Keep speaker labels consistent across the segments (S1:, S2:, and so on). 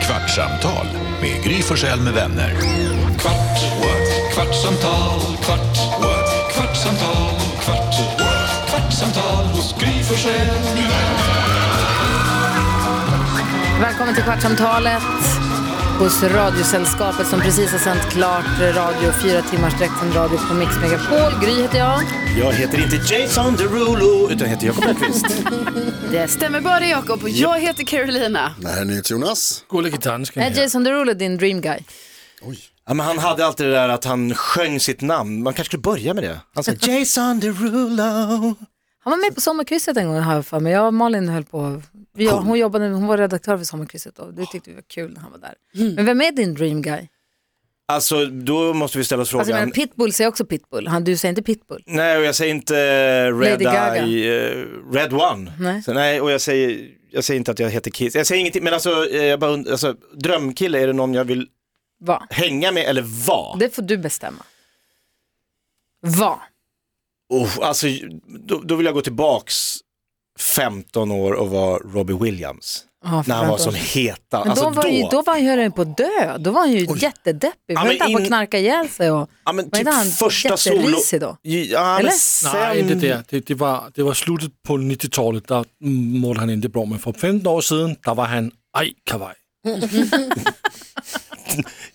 S1: Kvartsamtal med Gry Forssell med vänner. Kvart, what? kvartsamtal, kvart, what? kvartsamtal, kvart, what? kvartsamtal hos Gry Forssell med vänner.
S2: Välkommen till Kvartsamtalet hos Radiosällskapet som precis har sänt klart radio, fyra timmars direktsänd radio på Mix Megapol. Gry heter jag.
S3: Jag heter inte Jason Derulo utan heter Jakob Öqvist.
S2: Det stämmer bara det, Jakob. Och jag heter Carolina.
S4: Det här är NyhetsJonas.
S5: Gullige dansken
S2: Är
S5: här.
S2: Jason Derulo din dream guy?
S3: Ja, men han hade alltid det där att han sjöng sitt namn. Man kanske skulle börja med det. Han sa Jason Derulo.
S2: Han var med på Sommarkrysset en gång har jag för mig. Jag och Malin höll på. Vi, hon, jobbade, hon var redaktör för Sommarkrysset då. Det tyckte vi var kul när han var där.
S4: Mm.
S2: Men vem är din dream guy?
S3: Alltså då måste vi ställa oss
S2: Alltså, jag
S3: frågan.
S2: menar, pitbull säger också pitbull. Han, du säger inte pitbull.
S3: Nej och jag säger inte eh, Red
S2: Lady Gaga.
S3: Eye, eh, Red One.
S2: Nej.
S3: Så, nej och jag säger, jag säger inte att jag heter Kiss. Jag säger ingenting, men alltså, eh, jag bara, und- alltså drömkille, är det någon jag vill
S2: Va?
S3: hänga med eller vara?
S2: Det får du bestämma. Va?
S3: Oh, alltså, då, då vill jag gå tillbaks 15 år och vara Robbie Williams.
S2: Ja, för
S3: När han var
S2: vänta.
S3: som heta.
S2: Men
S3: Alltså,
S2: då, var Ju, då var han ju på att dö. Då var han ju jättedeppig. Var
S3: men
S2: inte han på att
S3: in-
S2: knarka ihjäl sig? Och...
S3: Ja men
S2: Vad
S3: typ
S2: heter han?
S3: första solo...
S2: Jätterisig då?
S3: Ja,
S2: Eller?
S3: men sen...
S5: Nej, inte där. Det, det, var, det var slutet på 90-talet, där mm, mådde han inte bra. Men för 15 år sedan, där var han aj kavaj.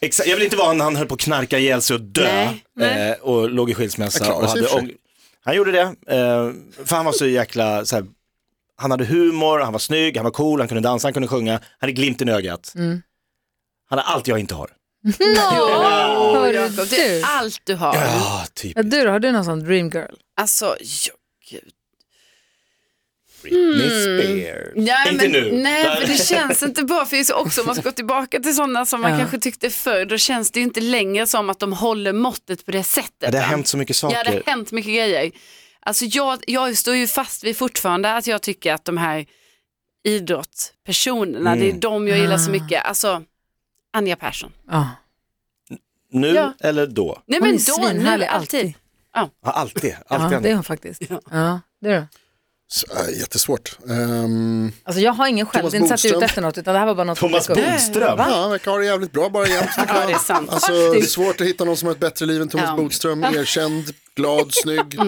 S3: Exakt, jag vill inte vara han, han höll på att knarka ihjäl sig och dö
S2: Nej, nej.
S3: Eh, och låg i skilsmässa.
S4: Han klarade
S3: och
S4: sig i och för sig.
S3: ång- han gjorde det, eh, för han var så jäkla, så här, han hade humor, han var snygg, han var cool, han kunde dansa, han kunde sjunga, han hade glimten i ögat.
S2: Mm.
S3: Han har allt jag inte har.
S2: Hör
S6: Jakob, det
S2: du?
S6: är allt du har.
S3: Ja, typ
S2: Ja, du då, har du någon sån dream girl?
S6: Alltså, jo, gud.
S3: Britney Spears.
S6: Nej,
S3: inte
S6: men,
S3: nu.
S6: Nej, för det känns inte bra. För det är så också, om man ska gå tillbaka till sådana som man
S2: Ja.
S6: kanske tyckte förr, då känns det ju inte längre som att de håller måttet på det
S3: Ja,
S6: sättet.
S3: det har
S6: va?
S3: hänt så mycket saker.
S6: Ja, det har hänt mycket grejer. Alltså jag, jag står ju fast vid fortfarande att jag tycker att de här idrottspersonerna, det är
S3: Mm.
S6: de jag gillar så mycket. Alltså, Anja Persson.
S2: Ja.
S3: Nu
S6: Ja.
S3: eller då?
S6: Nej
S2: Hon
S6: men
S2: är
S6: då, nu,
S2: svinhärlig
S6: alltid.
S2: alltid.
S3: Ja, alltid. alltid
S2: Ja,
S3: hänt.
S2: det är hon faktiskt. Ja, det är hon.
S4: Så, äh, jättesvårt. Ehm,
S2: Alltså jag har ingen själv,
S4: Thomas
S2: det är inte så att jag är ute
S4: Bodström.
S2: efter något utan det här var bara något som
S3: Thomas
S2: dök upp.
S3: Bodström.
S2: Va?
S4: ja, verkar ha det jävligt bra bara jämt. tycker
S6: Ja,
S4: jag.
S6: det är sant.
S4: Alltså, det är svårt att hitta någon som har ett bättre liv än Thomas
S6: Ja.
S4: Bodström. Erkänd, glad, snygg,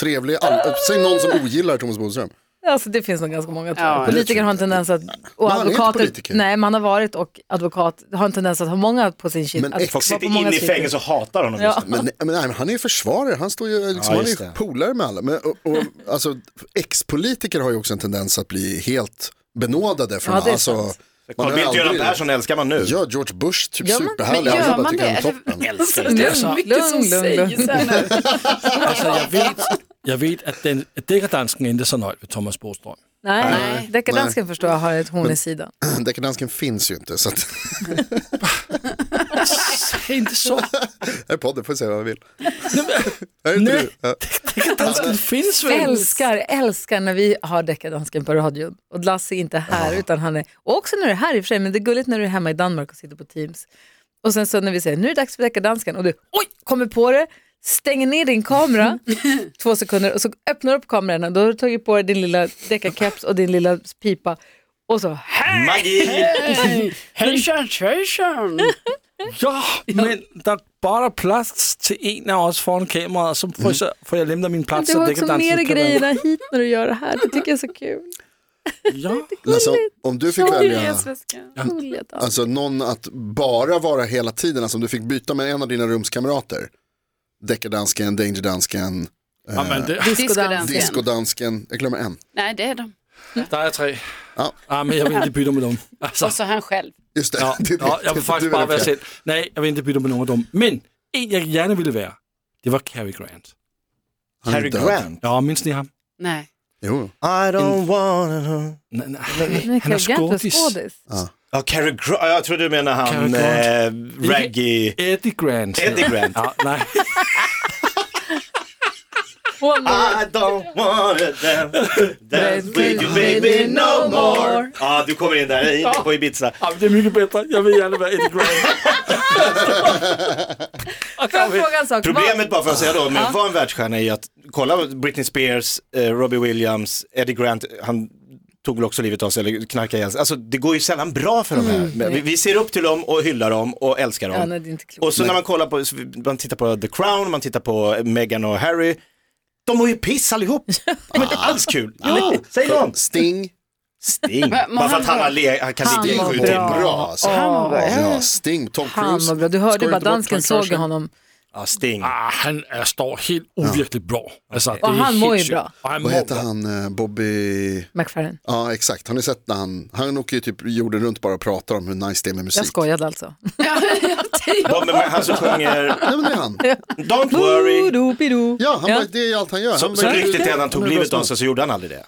S4: trevlig. All... äh, Säg någon som ogillar Thomas Bodström.
S2: Alltså det finns nog ganska många tror jag.
S6: Ja,
S2: Politiker har en tendens att, och
S4: Men han är inte
S2: advokater,
S4: politiker.
S2: nej man har varit och advokat har en tendens att ha många på sin shit.
S4: Men
S2: att
S4: exakt,
S3: Folk
S2: vara på
S3: sitter
S2: många
S3: inne i
S2: sidor.
S3: fängelse och hatar honom just
S2: Ja.
S3: nu.
S4: Men, nej, men, nej, men han är ju försvarare, han, står ju, liksom,
S3: Ja,
S4: han är
S3: just
S4: ju
S3: det.
S4: polare med alla. Men, och, och, alltså, ex-politiker har ju också en tendens att bli helt benådade. Från,
S2: Ja, det är
S4: alltså,
S2: sant.
S4: man
S3: Carl
S4: har
S3: Bildt och Göran
S4: aldrig-
S3: Persson älskar man nu.
S4: Ja, George Bush, typ
S2: Gör man-
S4: superhärlig.
S6: men gör
S4: Alla bara
S6: man
S4: tycker
S6: det?
S4: han är toppen.
S6: Alltså,
S3: Mm.
S6: det är så mycket som
S2: Lugn, lugn,
S6: sägs
S2: lugn.
S6: här nu.
S5: Alltså, jag vet, jag vet att, den, att deckardansken är inte så nöjd med Thomas Bodström.
S2: Nej,
S6: Nej.
S2: deckardansken förstår jag har ett horn i sidan.
S4: Dekadansken finns ju inte, så att,
S5: Det är inte så.
S4: här är podden, får jag säga vad jag vill. Är det inte
S5: Nej,
S4: du? Ja.
S5: deckardansken finns väl?
S2: Älskar, älskar när vi har deckardansken på radion och Lasse är inte här utan han är, och också när du är här i och för sig, men det är gulligt när du är hemma i Danmark och sitter på Teams. Och sen så när vi säger nu är det dags för deckardansken och du oj, kommer på det, stänger ner din kamera två sekunder och så öppnar du upp kameran och då har du tagit på dig din lilla deckarkeps och din lilla pipa och så
S3: Mm.
S2: här.
S3: Magi!
S6: Hejsan svejsan.
S5: Ja, men det är bara plats till en av oss foran kameran så får jag, får jag lämna min plats.
S2: Du
S5: så
S2: har också
S5: Alltså, deckardansken
S2: med dig
S5: kan vara-
S2: grejerna hit när du gör det här, det tycker jag är så kul.
S5: Ja.
S4: Lasse, om- Alltså, om du fick välja
S2: Gulliga dans-
S4: alltså, någon att bara vara hela tiden, alltså, om du fick byta med en av dina rumskamrater, deckardansken, dangerdansken,
S5: Ja, men det,
S6: Discodans igen.
S4: diskodansken, jag glömmer en.
S6: Nej det är de.
S5: där är tre.
S4: Ja.
S5: Ja, men jag vill inte byta med dem. Alltså.
S6: Och så han själv.
S4: Just det,
S5: Ja,
S4: det är det.
S5: ja, jag vill
S4: Du
S5: faktiskt
S4: är
S5: bara
S4: den
S5: vara
S4: fjärde.
S5: själv. Nej, jag vill inte byta med någon av dem. Men en jag gärna ville vara, det var Cary Grant.
S4: Han är
S3: Harry
S4: död.
S3: Grant.
S5: Ja, minns ni honom?
S6: Nej.
S4: Jo.
S3: I don't wanna know.
S5: Nej, nej.
S2: Men
S5: Han
S2: Cary
S5: är
S2: Grant var
S5: skådis.
S2: skådis.
S3: Ja, Cary Grant. Jag trodde du menade han
S5: Cary
S3: eh, Reggie.
S5: Eddie Grant.
S3: Eddie Grant.
S5: Ja, nej.
S3: I don't wanna dance, dance with you baby no more. Ja, du kommer in där, inte på Ibiza.
S5: Ja, men det är mycket bättre. Jag vill gärna vara Eddie Grant.
S2: Får jag fråga en sak?
S3: Problemet bara för att säga då, med att vara en världsstjärna är ju att kolla Britney Spears, eh, Robbie Williams, Eddie Grant, han tog väl också livet av sig eller knarkade ihjäl sig. Alltså det går ju sällan bra för de här. Men Vi, vi ser upp till dem och hyllar dem och älskar dem.
S2: Ja, nej, det är inte klokt.
S3: och så när man kollar på, så man tittar på The Crown, man tittar på Meghan och Harry. De mår ju piss allihop. De är inte alls kul. Jo, säg någon.
S4: Sting,
S3: Sting. Bara för att han, har le- han kan ligga i
S2: var
S3: sju
S4: sjukt
S3: timmar.
S4: bra alltså. Ja, Sting, Tom
S2: Han
S4: Cruise.
S2: var bra. Du hörde
S4: Skojar
S2: bara
S4: inte bort
S2: dansken
S4: Frank
S2: såg
S4: Ocean.
S2: honom.
S3: Ja, Sting.
S5: Ah, han är, står helt overkligt bra. Alltså, det
S2: Och
S5: är
S2: han
S5: helt
S2: mår ju
S5: sjukt.
S2: bra.
S5: Och han
S4: Vad
S5: mår
S4: heter
S5: bra.
S4: han, eh, Bobby?
S2: McFarren.
S4: Ja exakt, har ni sett när han, han åker ju typ jorden runt bara och pratar om hur nice det är med musik.
S2: Jag skojade alltså.
S6: Ja,
S3: De med han som sjunger
S4: Nej men det är han.
S3: Don't worry.
S2: Boodoo-bidoo.
S4: Ja, han Bara, det är allt han gör.
S3: Som,
S4: han
S3: som
S4: bara,
S3: riktigt är när han tog livet av sig så gjorde han aldrig det.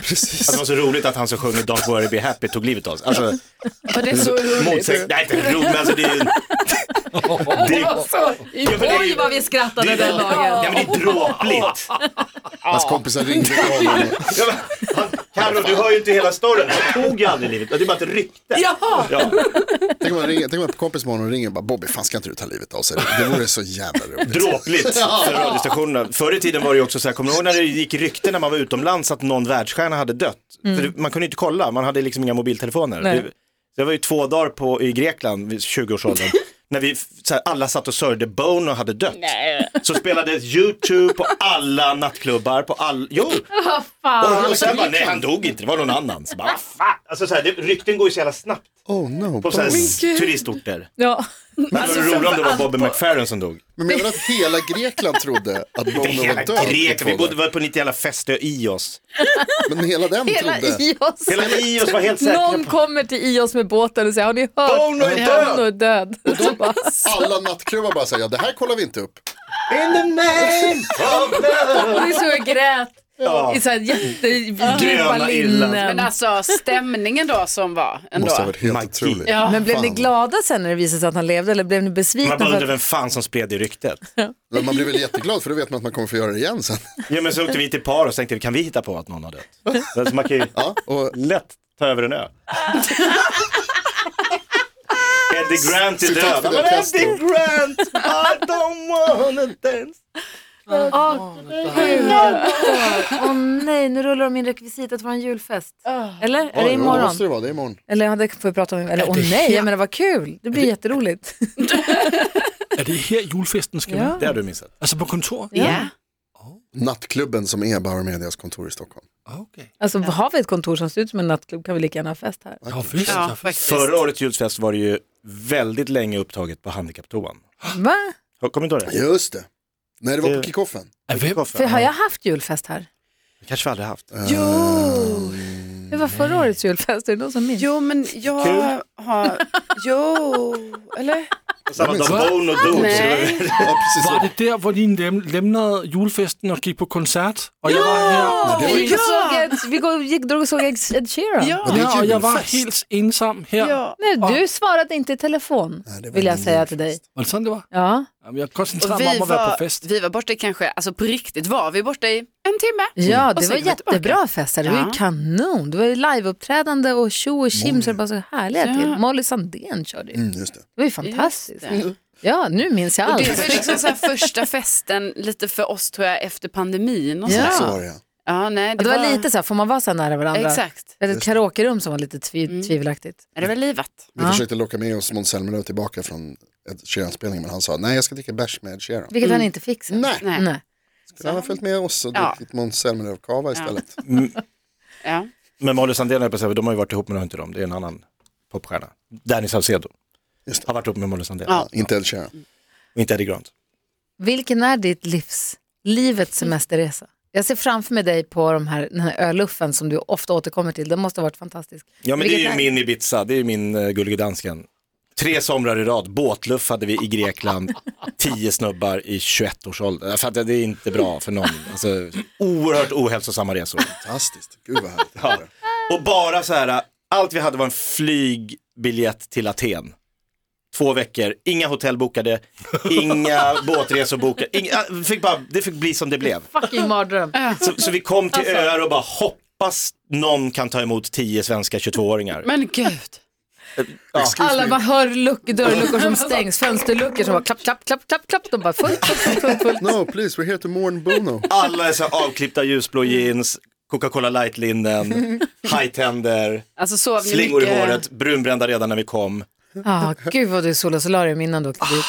S4: precis.
S3: Alltså, det var så roligt att han som sjunger Don't worry be happy tog livet av sig. Alltså,
S6: för det är så
S3: motsäg, nej inte roligt men alltså det är ju... Det är, Ja, men det är ju-
S2: Oj vad vi
S3: det
S2: skrattade
S3: är,
S2: den
S3: ja,
S2: dagen.
S3: men det är dråpligt.
S4: Hans kompisar ringde till honom.
S3: Ja, men, han- Carro, du hör ju inte hela storyn. Han tog ju aldrig livet. Det är bara ett rykte.
S2: Jaha!
S3: Ja.
S4: Tänk om man ringer, tänk om man på kompis morgon och ringer och bara Bobby, fan ska inte du ta livet av sig? Det vore så jävla roligt.
S3: Dråpligt för radiostationerna. Förr i tiden var det ju också så här, kommer du ihåg när det gick rykten när man var utomlands att någon världsstjärna hade dött? För det- man kunde inte kolla, man hade liksom inga mobiltelefoner.
S2: Nej.
S3: Det, det var ju två dagar på, i Grekland vid 20-årsåldern. När vi f- så här, alla satt och sörjde Bono hade dött. Så spelades YouTube på alla nattklubbar, på all... Jo! och, och sen bara, nej han dog inte, det var någon annan. Så bara, "Va fan?" alltså så här, det, rykten går ju så jävla snabbt
S4: Oh no.
S3: på så här,
S4: Bobby.
S3: s- turistorter.
S2: Ja.
S3: Men det vore roligt om det var Bobby McFerrin som dog.
S4: Men menar du att hela Grekland trodde att Bono
S3: Det
S4: var
S3: hela
S4: död?
S3: grek, vi
S4: i två
S3: bodde
S4: dagar?
S3: var på lite jävla festö i oss.
S4: Men hela den
S2: Hela
S4: trodde.
S2: IOS.
S3: Hela i oss var helt säkra
S2: Någon
S3: på
S2: kommer till IOS med båten och säger har ni hört?
S3: Bono är död."
S2: Bono är död. Så bara,
S4: Alla nattklubbar bara säger, ja det här kollar vi inte upp.
S3: In the name of love.
S2: Och vi såg och grät
S3: Ja.
S2: i så här jättedjupa
S3: Gröna Irland.
S6: Men
S2: linnen.
S6: alltså stämningen då som var ändå.
S4: Måste ha varit helt
S3: Magi.
S4: otroligt.
S6: Ja.
S2: Men blev
S4: Fan.
S2: ni glada sen när det visade sig att han levde eller blev ni besvikna?
S3: Man bara
S2: för
S3: undrar
S2: att-
S3: vem fan som spred det ryktet.
S4: Men man blir väl jätteglad för då vet man att man kommer få göra det igen sen.
S3: Ja men så åkte vi till par och så tänkte vi kan vi hitta på att någon har dött? Så man kan ju
S4: Ja, och
S3: lätt ta över en ö. Eddie Grant är död.
S4: Fidel
S3: Men
S4: Castro.
S3: Eddie Grant, I don't wanna dance.
S2: Åh gud. Åh nej, nu rullar de in rekvisita till vår julfest. Eller? Är det
S4: Ja,
S2: imorgon?
S4: måste det vara, det är imorgon.
S2: Ah. Eller ja, det får vi prata om. Eller åh nej, jag menar vad kul. Det blir jätteroligt.
S5: Är det här julfesten ska vara?
S2: Ja.
S3: Det har du missat.
S5: Alltså på kontor?
S6: Ja.
S4: Nattklubben som är Bauer Medias kontor i Stockholm.
S5: Ah, okej.
S2: Alltså har vi ett kontor som ser ut som en nattklubb kan vi lika gärna ha fest här.
S5: Ja, visst.
S6: Ja,
S5: Ja,
S6: faktiskt.
S3: Förra årets julfest var det ju väldigt länge upptaget på handikapptoan.
S2: Va?
S3: Kommer du inte ihåg det?
S4: Just det. Nej, det var på
S3: Det-
S4: kickoffen.
S5: vem,
S2: Äh, För har jag haft julfest här?
S3: Det kanske vi aldrig haft. Mm.
S2: Det var förra årets julfest, är det någon som minns?
S6: Jo, men jag
S3: Kul.
S6: har... Jo, eller?
S3: Samma dag Bono dog. så det var-
S6: Nej.
S4: Ja, precis.
S5: var det där hvor din läm lämnade julfesten och gick på koncert? Och jag var här.
S4: Nej, det
S2: Vi,
S4: var ju-
S2: gick och såg Ed, vi går- gick, drog och såg Ed Sheeran.
S6: Ja.
S4: det är
S5: Ja, och jag var
S4: julfest.
S5: helt ensam här.
S6: ja.
S2: Nej, du svarade inte i telefon,
S4: Nej, det var
S2: vill jag
S4: ingen
S2: säga
S4: julfest.
S2: till dig.
S5: Var det sådan det var?
S2: Ja.
S5: Jamen, jag
S6: Och
S5: koncentrerade mig
S6: vi,
S5: om att vara på
S6: var,
S5: fest.
S6: vi var borta i kanske, alltså på riktigt var vi borta i en timme.
S2: Ja,
S6: Och
S2: det
S6: sen
S2: var
S6: kom vi tillbaka.
S2: jättebra fester. Det var ju
S6: Ja.
S2: kanon. Det var ju liveuppträdande och tjo och tjim så det bara så härliga till. Molly Sandén körde ju.
S4: Mm, just det.
S2: Det var ju fantastiskt.
S6: Just det.
S2: Ja, nu minns jag
S6: Det
S2: allt.
S6: var liksom så här första festen lite för oss tror jag efter pandemin och
S2: Ja.
S6: så.
S4: Så var det ja.
S6: Ja, nej,
S2: Och det var lite så här, får man vara så här nära varandra?
S6: Exakt.
S2: Det var ett karaokerum som var lite tvi tvivelaktigt.
S6: Ja, Det var livat.
S4: Vi försökte locka med oss Måns Zelmerlöw tillbaka från Ed Sheeran-spelningen men han sa nej jag ska dricka bärs med Ed Sheeran.
S2: Vilket han inte fick sen.
S4: Nej.
S6: Nej.
S2: Nej.
S4: Han har följt med oss och
S6: Ja.
S4: druckit Måns Zelmerlöw-cava istället.
S6: Ja.
S3: Men Molly Sandén, höll jag på att säga, de har ju varit ihop men har inte de. Det är en annan popstjärna. Danny Saucedo.
S4: Just det.
S3: Har varit ihop med Molly Sandén.
S6: Ja.
S4: Inte Ed Sheeran.
S3: Och inte Eddie Grant.
S2: Vilken är ditt livs, livets semesterresa? Jag ser framför mig dig på de här, den här öluffen som du ofta återkommer till. Den måste ha varit fantastisk.
S3: Ja men det är
S2: Vilket
S3: ju min Ibiza, det är ju min uh, gullige dansken. Tre somrar i rad, båtluff hade vi i Grekland, tio snubbar i 21 års ålder. Jag fattar, det är inte bra för någon. Alltså, oerhört ohälsosamma resor.
S4: Fantastiskt, gud vad härligt. det här är.
S3: Och bara så här, allt vi hade var en flygbiljett till Aten. Två veckor, inga hotell bokade, inga båtresor bokade. Inga, äh, fick bara, det fick bli som det blev.
S2: Fucking mardröm.
S3: Så, så vi kom till
S6: Alltså-
S3: öar och bara hoppas någon kan ta emot tio svenska 22-åringar.
S6: Men gud.
S2: Alla bara hör luck, dörrluckor som stängs, fönsterluckor som bara klapp, klapp, klapp, klapp, klapp. De bara fullt, fullt, fullt, fullt.
S4: No please, we're here to mourn Bono.
S3: Alla är så här avklippta ljusblå jeans, Coca-Cola light-linnen, high-tender,
S6: Alltså sov ni
S3: slingor i
S6: mycket?
S3: håret, brunbrända redan när vi kom.
S2: Ah, gud vad du solar solarium innan du åkte dit.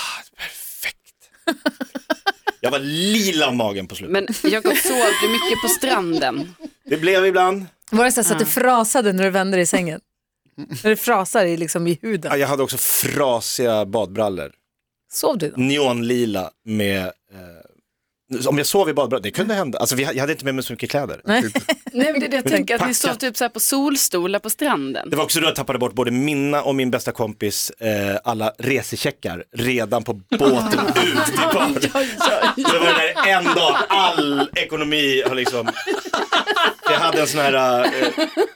S3: Jag var lila om magen på slutet.
S6: Men Jakob, sov du mycket på stranden?
S3: Det blev ibland.
S2: Var det så, här så att det frasade när du vände dig i sängen? När det frasar i, liksom, i
S3: Ja,
S2: huden.
S3: Jag hade också frasiga badbrallor.
S2: Sov du då?
S3: Neonlila med, eh, om jag sov i badbrallor, det kunde hända. Alltså vi, jag hade inte med mig så mycket kläder.
S6: Nej, men det är det jag tänker, att ni
S3: Packat.
S6: sov typ så här på solstolar på stranden.
S3: Det var också då jag tappade bort både mina och min bästa kompis eh, alla resecheckar redan på båten ut till bad. Det var där en dag all ekonomi har liksom, jag hade en sån här eh,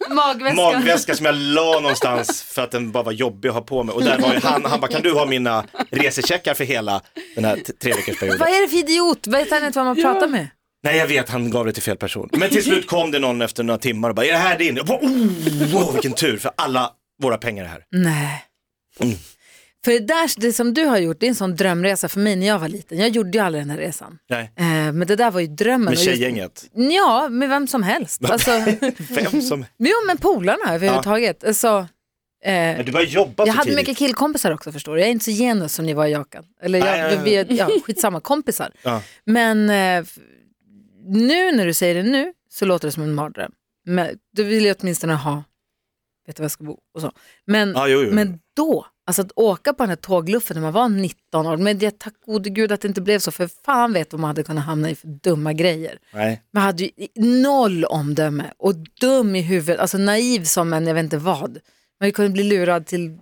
S6: Magväskan.
S3: magväska som jag la någonstans för att den bara var jobbig att ha på mig. Och där var ju han, han bara kan du ha mina resecheckar för hela den här t- treveckorsperioden.
S2: Vad är det för idiot? Vet han inte vad man pratar med?
S3: Nej jag vet, han gav det till fel person. Men till slut kom det någon efter några timmar och bara, är det här din? Jag bara, oh, wow, vilken tur för alla våra pengar är här.
S2: Nej.
S3: Mm.
S2: För det, där, det som du har gjort, det är en sån drömresa för mig när jag var liten. Jag gjorde ju aldrig den här resan.
S3: Nej.
S2: Eh, men det där var ju drömmen.
S3: Med
S2: Och just-
S3: tjejgänget.
S2: Ja, med vem som helst. Alltså,
S3: Vem som
S2: jo, men polarna överhuvudtaget. Alltså, eh,
S3: Men du började jobba
S2: jag
S3: för
S2: hade
S3: tidigt.
S2: mycket killkompisar också förstår du. Jag är inte så genus som ni var i Jakan. Eller jag,
S3: Nej, ja, ja.
S2: vi är- ja, skitsamma, kompisar.
S3: Ja.
S2: Men eh, f- nu när du säger det nu så låter det som en mardröm. Men du vill ju åtminstone ha, vet du var jag ska bo och så. Men,
S3: Ja, jo, jo.
S2: men då, alltså att åka på den här tågluffen när man var 19 år. Men det, tack gode gud att det inte blev så, för fan vet vad man hade kunnat hamna i för dumma grejer.
S3: Nej.
S2: Man hade ju noll omdöme och dum i huvudet, alltså naiv som en jag vet inte vad. Man kunde bli lurad till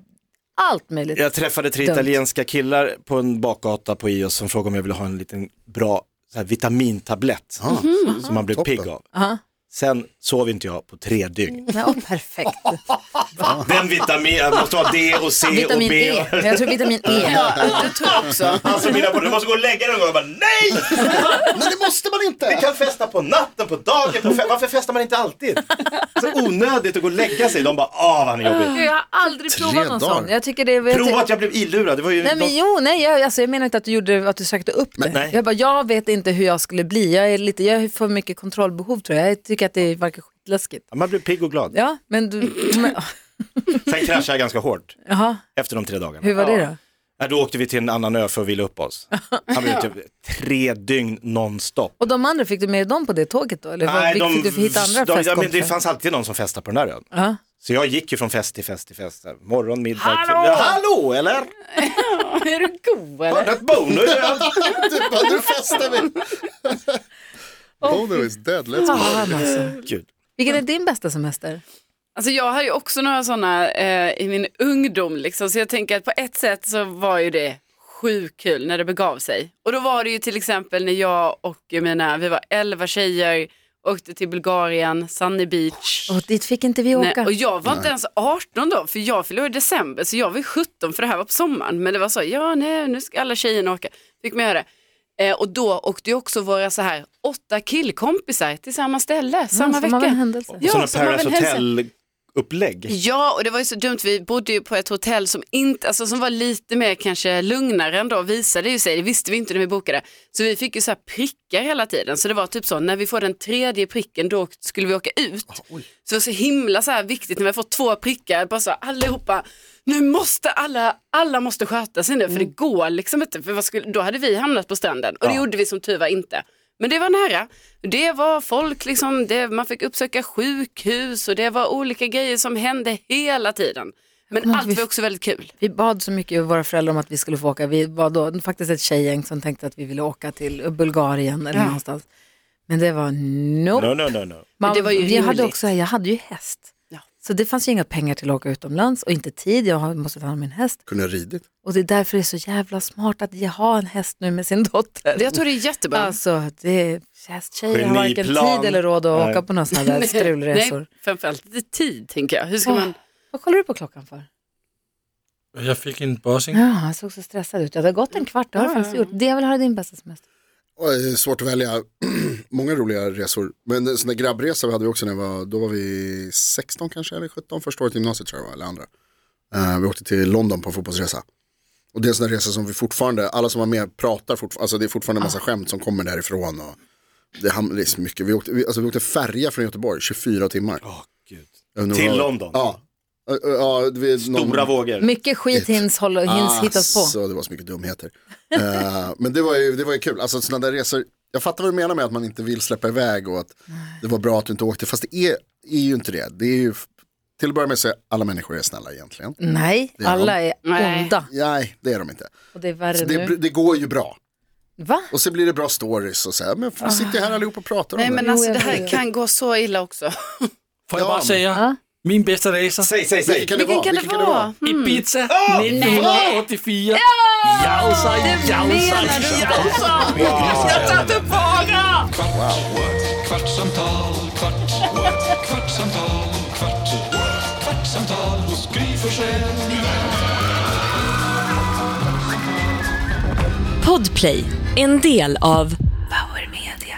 S2: allt möjligt.
S3: Jag träffade tre
S2: Dumt.
S3: italienska killar på en bakgata på IOS som frågade om jag ville ha en liten bra så här, vitamintablett
S4: Ah.
S6: Mhm.
S3: som man blev
S4: Toppen.
S3: pigg av.
S2: Ja.
S3: Sen sov inte jag på tre dygn.
S2: Ja, perfekt.
S3: Den vitamin, jag måste ha D och C och
S2: Vitamin
S3: B.
S2: E. Jag tror vitamin E.
S6: Ja, det tror jag också.
S3: Alltså mina barn, du måste gå och lägga dig någon gång. Jag bara, nej!
S4: Nej det måste man
S3: Vi
S4: inte!
S3: kan festa på natten, på dagen, på fe- varför festar man inte alltid? Så onödigt att gå och lägga sig. De bara, ah vad han är jobbig.
S2: Jag har aldrig
S4: Tre
S2: provat någon
S4: dagar.
S2: sån. Jag tycker det är...
S3: Prova att jag blev illurad, det var ju...
S2: Nej men jo, nej, jag, alltså, jag menar inte att du, gjorde, att du sökte upp det.
S3: nej.
S2: Jag bara, jag vet inte hur jag skulle bli. Jag, är lite, jag har för mycket kontrollbehov tror jag. Jag tycker att det verkar skitläskigt.
S3: Man blev pigg och glad.
S2: Ja, men du... Men,
S3: Sen kraschade jag ganska hårt
S2: jaha,
S3: efter de tre dagarna.
S2: hur var det då?
S3: Nej, då åkte vi till en annan ö för att vila upp oss. Han blev typ tre dygn nonstop.
S2: Och de andra, fick du med dem på det tåget då? Eller vad- fick du hitta andra
S3: de, ja, men
S2: festkompisar?
S3: Det fanns alltid någon som festade på den där ön.
S2: Ja.
S3: Så jag gick ju från fest till fest till fest. där. Morgon, middag, Hallå! Ja, hallå eller?
S6: Är du god eller?
S3: Hörde ett bonus?
S4: Du Typ, bara, nu festar vi! Bono is dead, let's go.
S2: Fan, alltså.
S3: Gud.
S2: Vilken är din bästa semester?
S6: Alltså jag har ju också några sådana eh, i min ungdom liksom. Så jag tänker att på ett sätt så var ju det sjukt kul när det begav sig. Och då var det ju till exempel när jag och mina, vi var elva tjejer, åkte till Bulgarien, Sunny Beach.
S2: Och dit fick inte vi åka.
S6: Nej, och jag var inte ens 18 då, för jag fyllde år i december, så jag var ju 17 för det här var på sommaren. Men det var så, ja nej, nu ska alla tjejerna åka. Fick man göra det. Eh, och då åkte ju också våra så här åtta killkompisar till samma ställe, samma
S2: som av en
S6: vecka.
S2: händelse.
S6: Ja,
S3: Sådana
S6: som av en
S3: Paradise
S6: händelse.
S3: Hotel-upplägg.
S6: Ja, och det var ju så dumt. Vi bodde ju på ett hotell som, inte, alltså, som var lite mer kanske lugnare ändå, visade ju sig. Det visste vi inte när vi bokade. Så vi fick ju så här prickar hela tiden. Så det var typ så, när vi får den tredje pricken då skulle vi åka ut. så det var så himla så här viktigt när vi har fått två prickar, bara så här, allihopa, nu måste alla, alla måste sköta sig nu, för det går liksom inte. För vad skulle, då hade vi hamnat på stranden och det gjorde vi som tur var inte. Men det var nära. Det var folk, liksom, det, man fick uppsöka sjukhus och det var olika grejer som hände hela tiden. Men
S2: kommer ihåg
S6: allt var
S2: vi-
S6: också väldigt kul.
S2: Vi bad så mycket våra föräldrar om att vi skulle få åka. Vi var då faktiskt ett tjejgäng som tänkte att vi ville åka till Bulgarien eller någonstans. Men det var nope.
S3: No, no, no, no.
S2: Man,
S6: det var ju
S2: vi hade
S6: rimligt.
S2: också, jag hade ju häst.
S6: Ja.
S2: Så det fanns ju inga pengar till att åka utomlands och inte tid. Jag har- måste ta hand om min häst.
S4: Kunde ha ridit.
S2: Och det är därför det är så jävla smart att ge- ha en häst nu med sin dotter.
S6: Jag tror det är jättebra.
S2: Alltså, det, hästtjejer har varken
S3: Geniplan.
S2: tid eller råd att
S3: Nej.
S2: åka på några sådana där strulresor.
S6: Nej, framförallt lite tid tänker jag. Hur ska
S2: Åh,
S6: man...
S2: Vad kollar du på klockan för?
S5: Jag fick en börsing.
S2: Ja, han såg så stressad ut. Ja, det har gått en kvart, det har det faktiskt gjort. Det jag vill höra din bästa semester.
S4: Oj, svårt att välja. Många roliga resor. Men en sån där grabbresa vi hade vi också när jag var, då var vi 16 kanske eller 17, första året i gymnasiet tror jag det var, eller andra. Eh, vi åkte till London på en fotbollsresa. Och det är en
S3: Ah.
S4: sån där resa som vi fortfarande, alla som var med pratar fortfarande, alltså det är fortfarande en massa skämt som kommer därifrån. Och Det ham- det är så mycket. Vi åkte, vi, alltså, vi åkte färja från Göteborg, 24 timmar.
S3: Åh, gud.
S4: Jag undrar
S3: Till
S4: vad-
S3: London?
S4: Ja. Ö- ö- ja det var någon-
S3: Stora vågor.
S7: Mycket skit hinns, hålla, hinns hittas på.
S4: Ah, Så det var så mycket dumheter. Eh, men det var, ju, det var ju kul. Alltså sådana där resor, jag fattar vad du menar med att man inte vill släppa iväg och att det var bra att du inte åkte. Fast det är, är ju inte det. Det är ju, till att börja med så är alla människor är snälla egentligen.
S7: Nej,
S4: är
S7: alla är
S6: Nej.
S7: onda.
S4: Nej, det är de inte.
S7: Och det är värre
S4: Så
S7: nu.
S4: det, det går ju bra.
S7: Va?
S4: Och så blir det bra stories och så här, men fan, sitter jag här allihop och pratar om
S6: Nej
S4: det.
S6: men alltså
S7: Jo,
S6: det
S7: jag vet.
S6: här kan gå så illa också.
S5: Får jag bara säga,
S7: Ja.
S5: min bästa resa,
S3: Säg, säg, säg.
S4: Vilken kan det
S6: Vilken
S4: vara?
S6: kan det
S4: Vilken kan det vara?
S6: vara? Mm.
S5: Ibiza 1984. Jausa, jausa, jausa.
S1: Kvart, what? kvartsamtal, kvart, what? kvartsamtal, kvart, what? kvartsamtal hos Gry Forssell med vänner.
S2: Podplay, en del av Power Media.